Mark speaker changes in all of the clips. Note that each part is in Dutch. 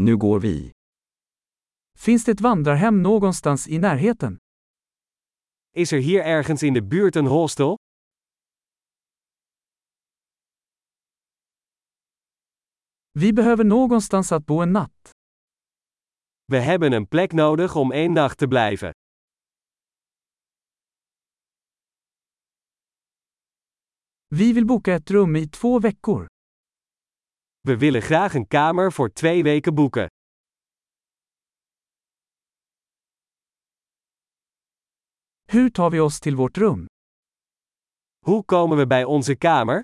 Speaker 1: Nu går vi.
Speaker 2: Finns det ett vandrarhem någonstans i närheten?
Speaker 3: Is er hier ergens in de buurt een hostel?
Speaker 2: Vi behöver någonstans att bo en natt.
Speaker 3: We hebben een plek nodig om één nacht te blijven.
Speaker 2: Vi vill boka ett rum i två veckor.
Speaker 3: We willen graag een kamer voor twee weken boeken.
Speaker 2: Hur tar vi oss till vårt rum?
Speaker 3: Hoe komen we bij onze kamer?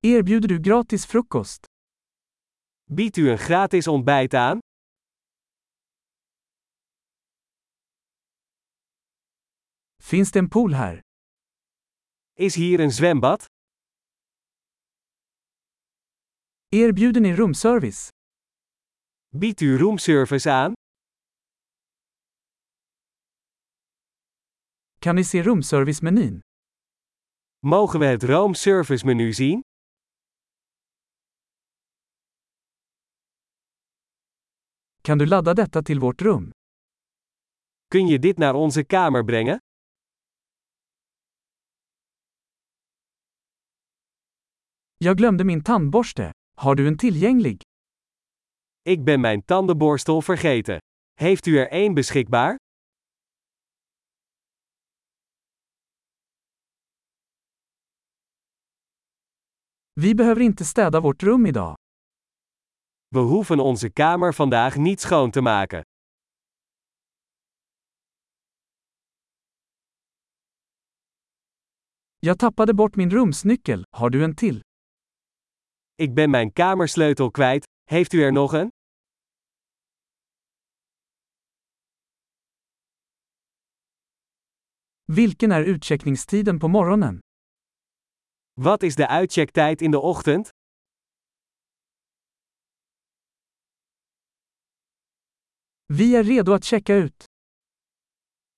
Speaker 2: Erbjuder du gratis frukost?
Speaker 3: Biedt u een gratis ontbijt aan?
Speaker 2: Finns det en pool här?
Speaker 3: Is hier een zwembad?
Speaker 2: Erbjuder ni rumservice?
Speaker 3: Biedt u roomservice aan?
Speaker 2: Kan ni se rumservice-menyn?
Speaker 3: Mogen we het roomservice menu zien?
Speaker 2: Kan du ladda detta till vårt rum?
Speaker 3: Kun je dit naar onze kamer brengen?
Speaker 2: Jag glömde min tandborste. Har du en tillgänglig?
Speaker 3: Ik ben mijn tandenborstel vergeten. Heeft u er één beschikbaar?
Speaker 2: Vi behöver inte städa vårt rum idag.
Speaker 3: We hoeven onze kamer vandaag niet schoon te maken.
Speaker 2: Jag tappade bort min rumsnyckel. Har du en till?
Speaker 3: Ik ben mijn kamersleutel kwijt. Heeft u er nog een?
Speaker 2: Vilken är utcheckningstiden på morgonen?
Speaker 3: Wat is de uitchecktijd in de ochtend?
Speaker 2: Vi är redo att checka ut.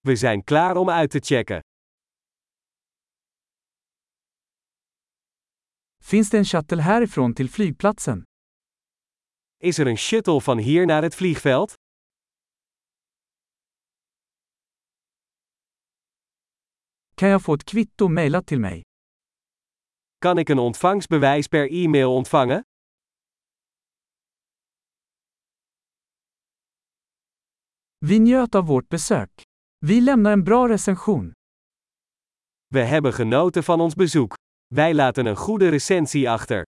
Speaker 3: We zijn klaar om uit te checken.
Speaker 2: Finns det en shuttle härifrån till flygplatsen?
Speaker 3: Is er een shuttle van hier naar het vliegveld?
Speaker 2: Kan jag få ett kvitto mejlat till mig?
Speaker 3: Kan ik een ontvangstbewijs per e-mail ontvangen?
Speaker 2: Vi njöt av vårt besök. Vi lämnar en bra recension.
Speaker 3: We hebben genoten van ons bezoek. Wij laten een goede recensie achter.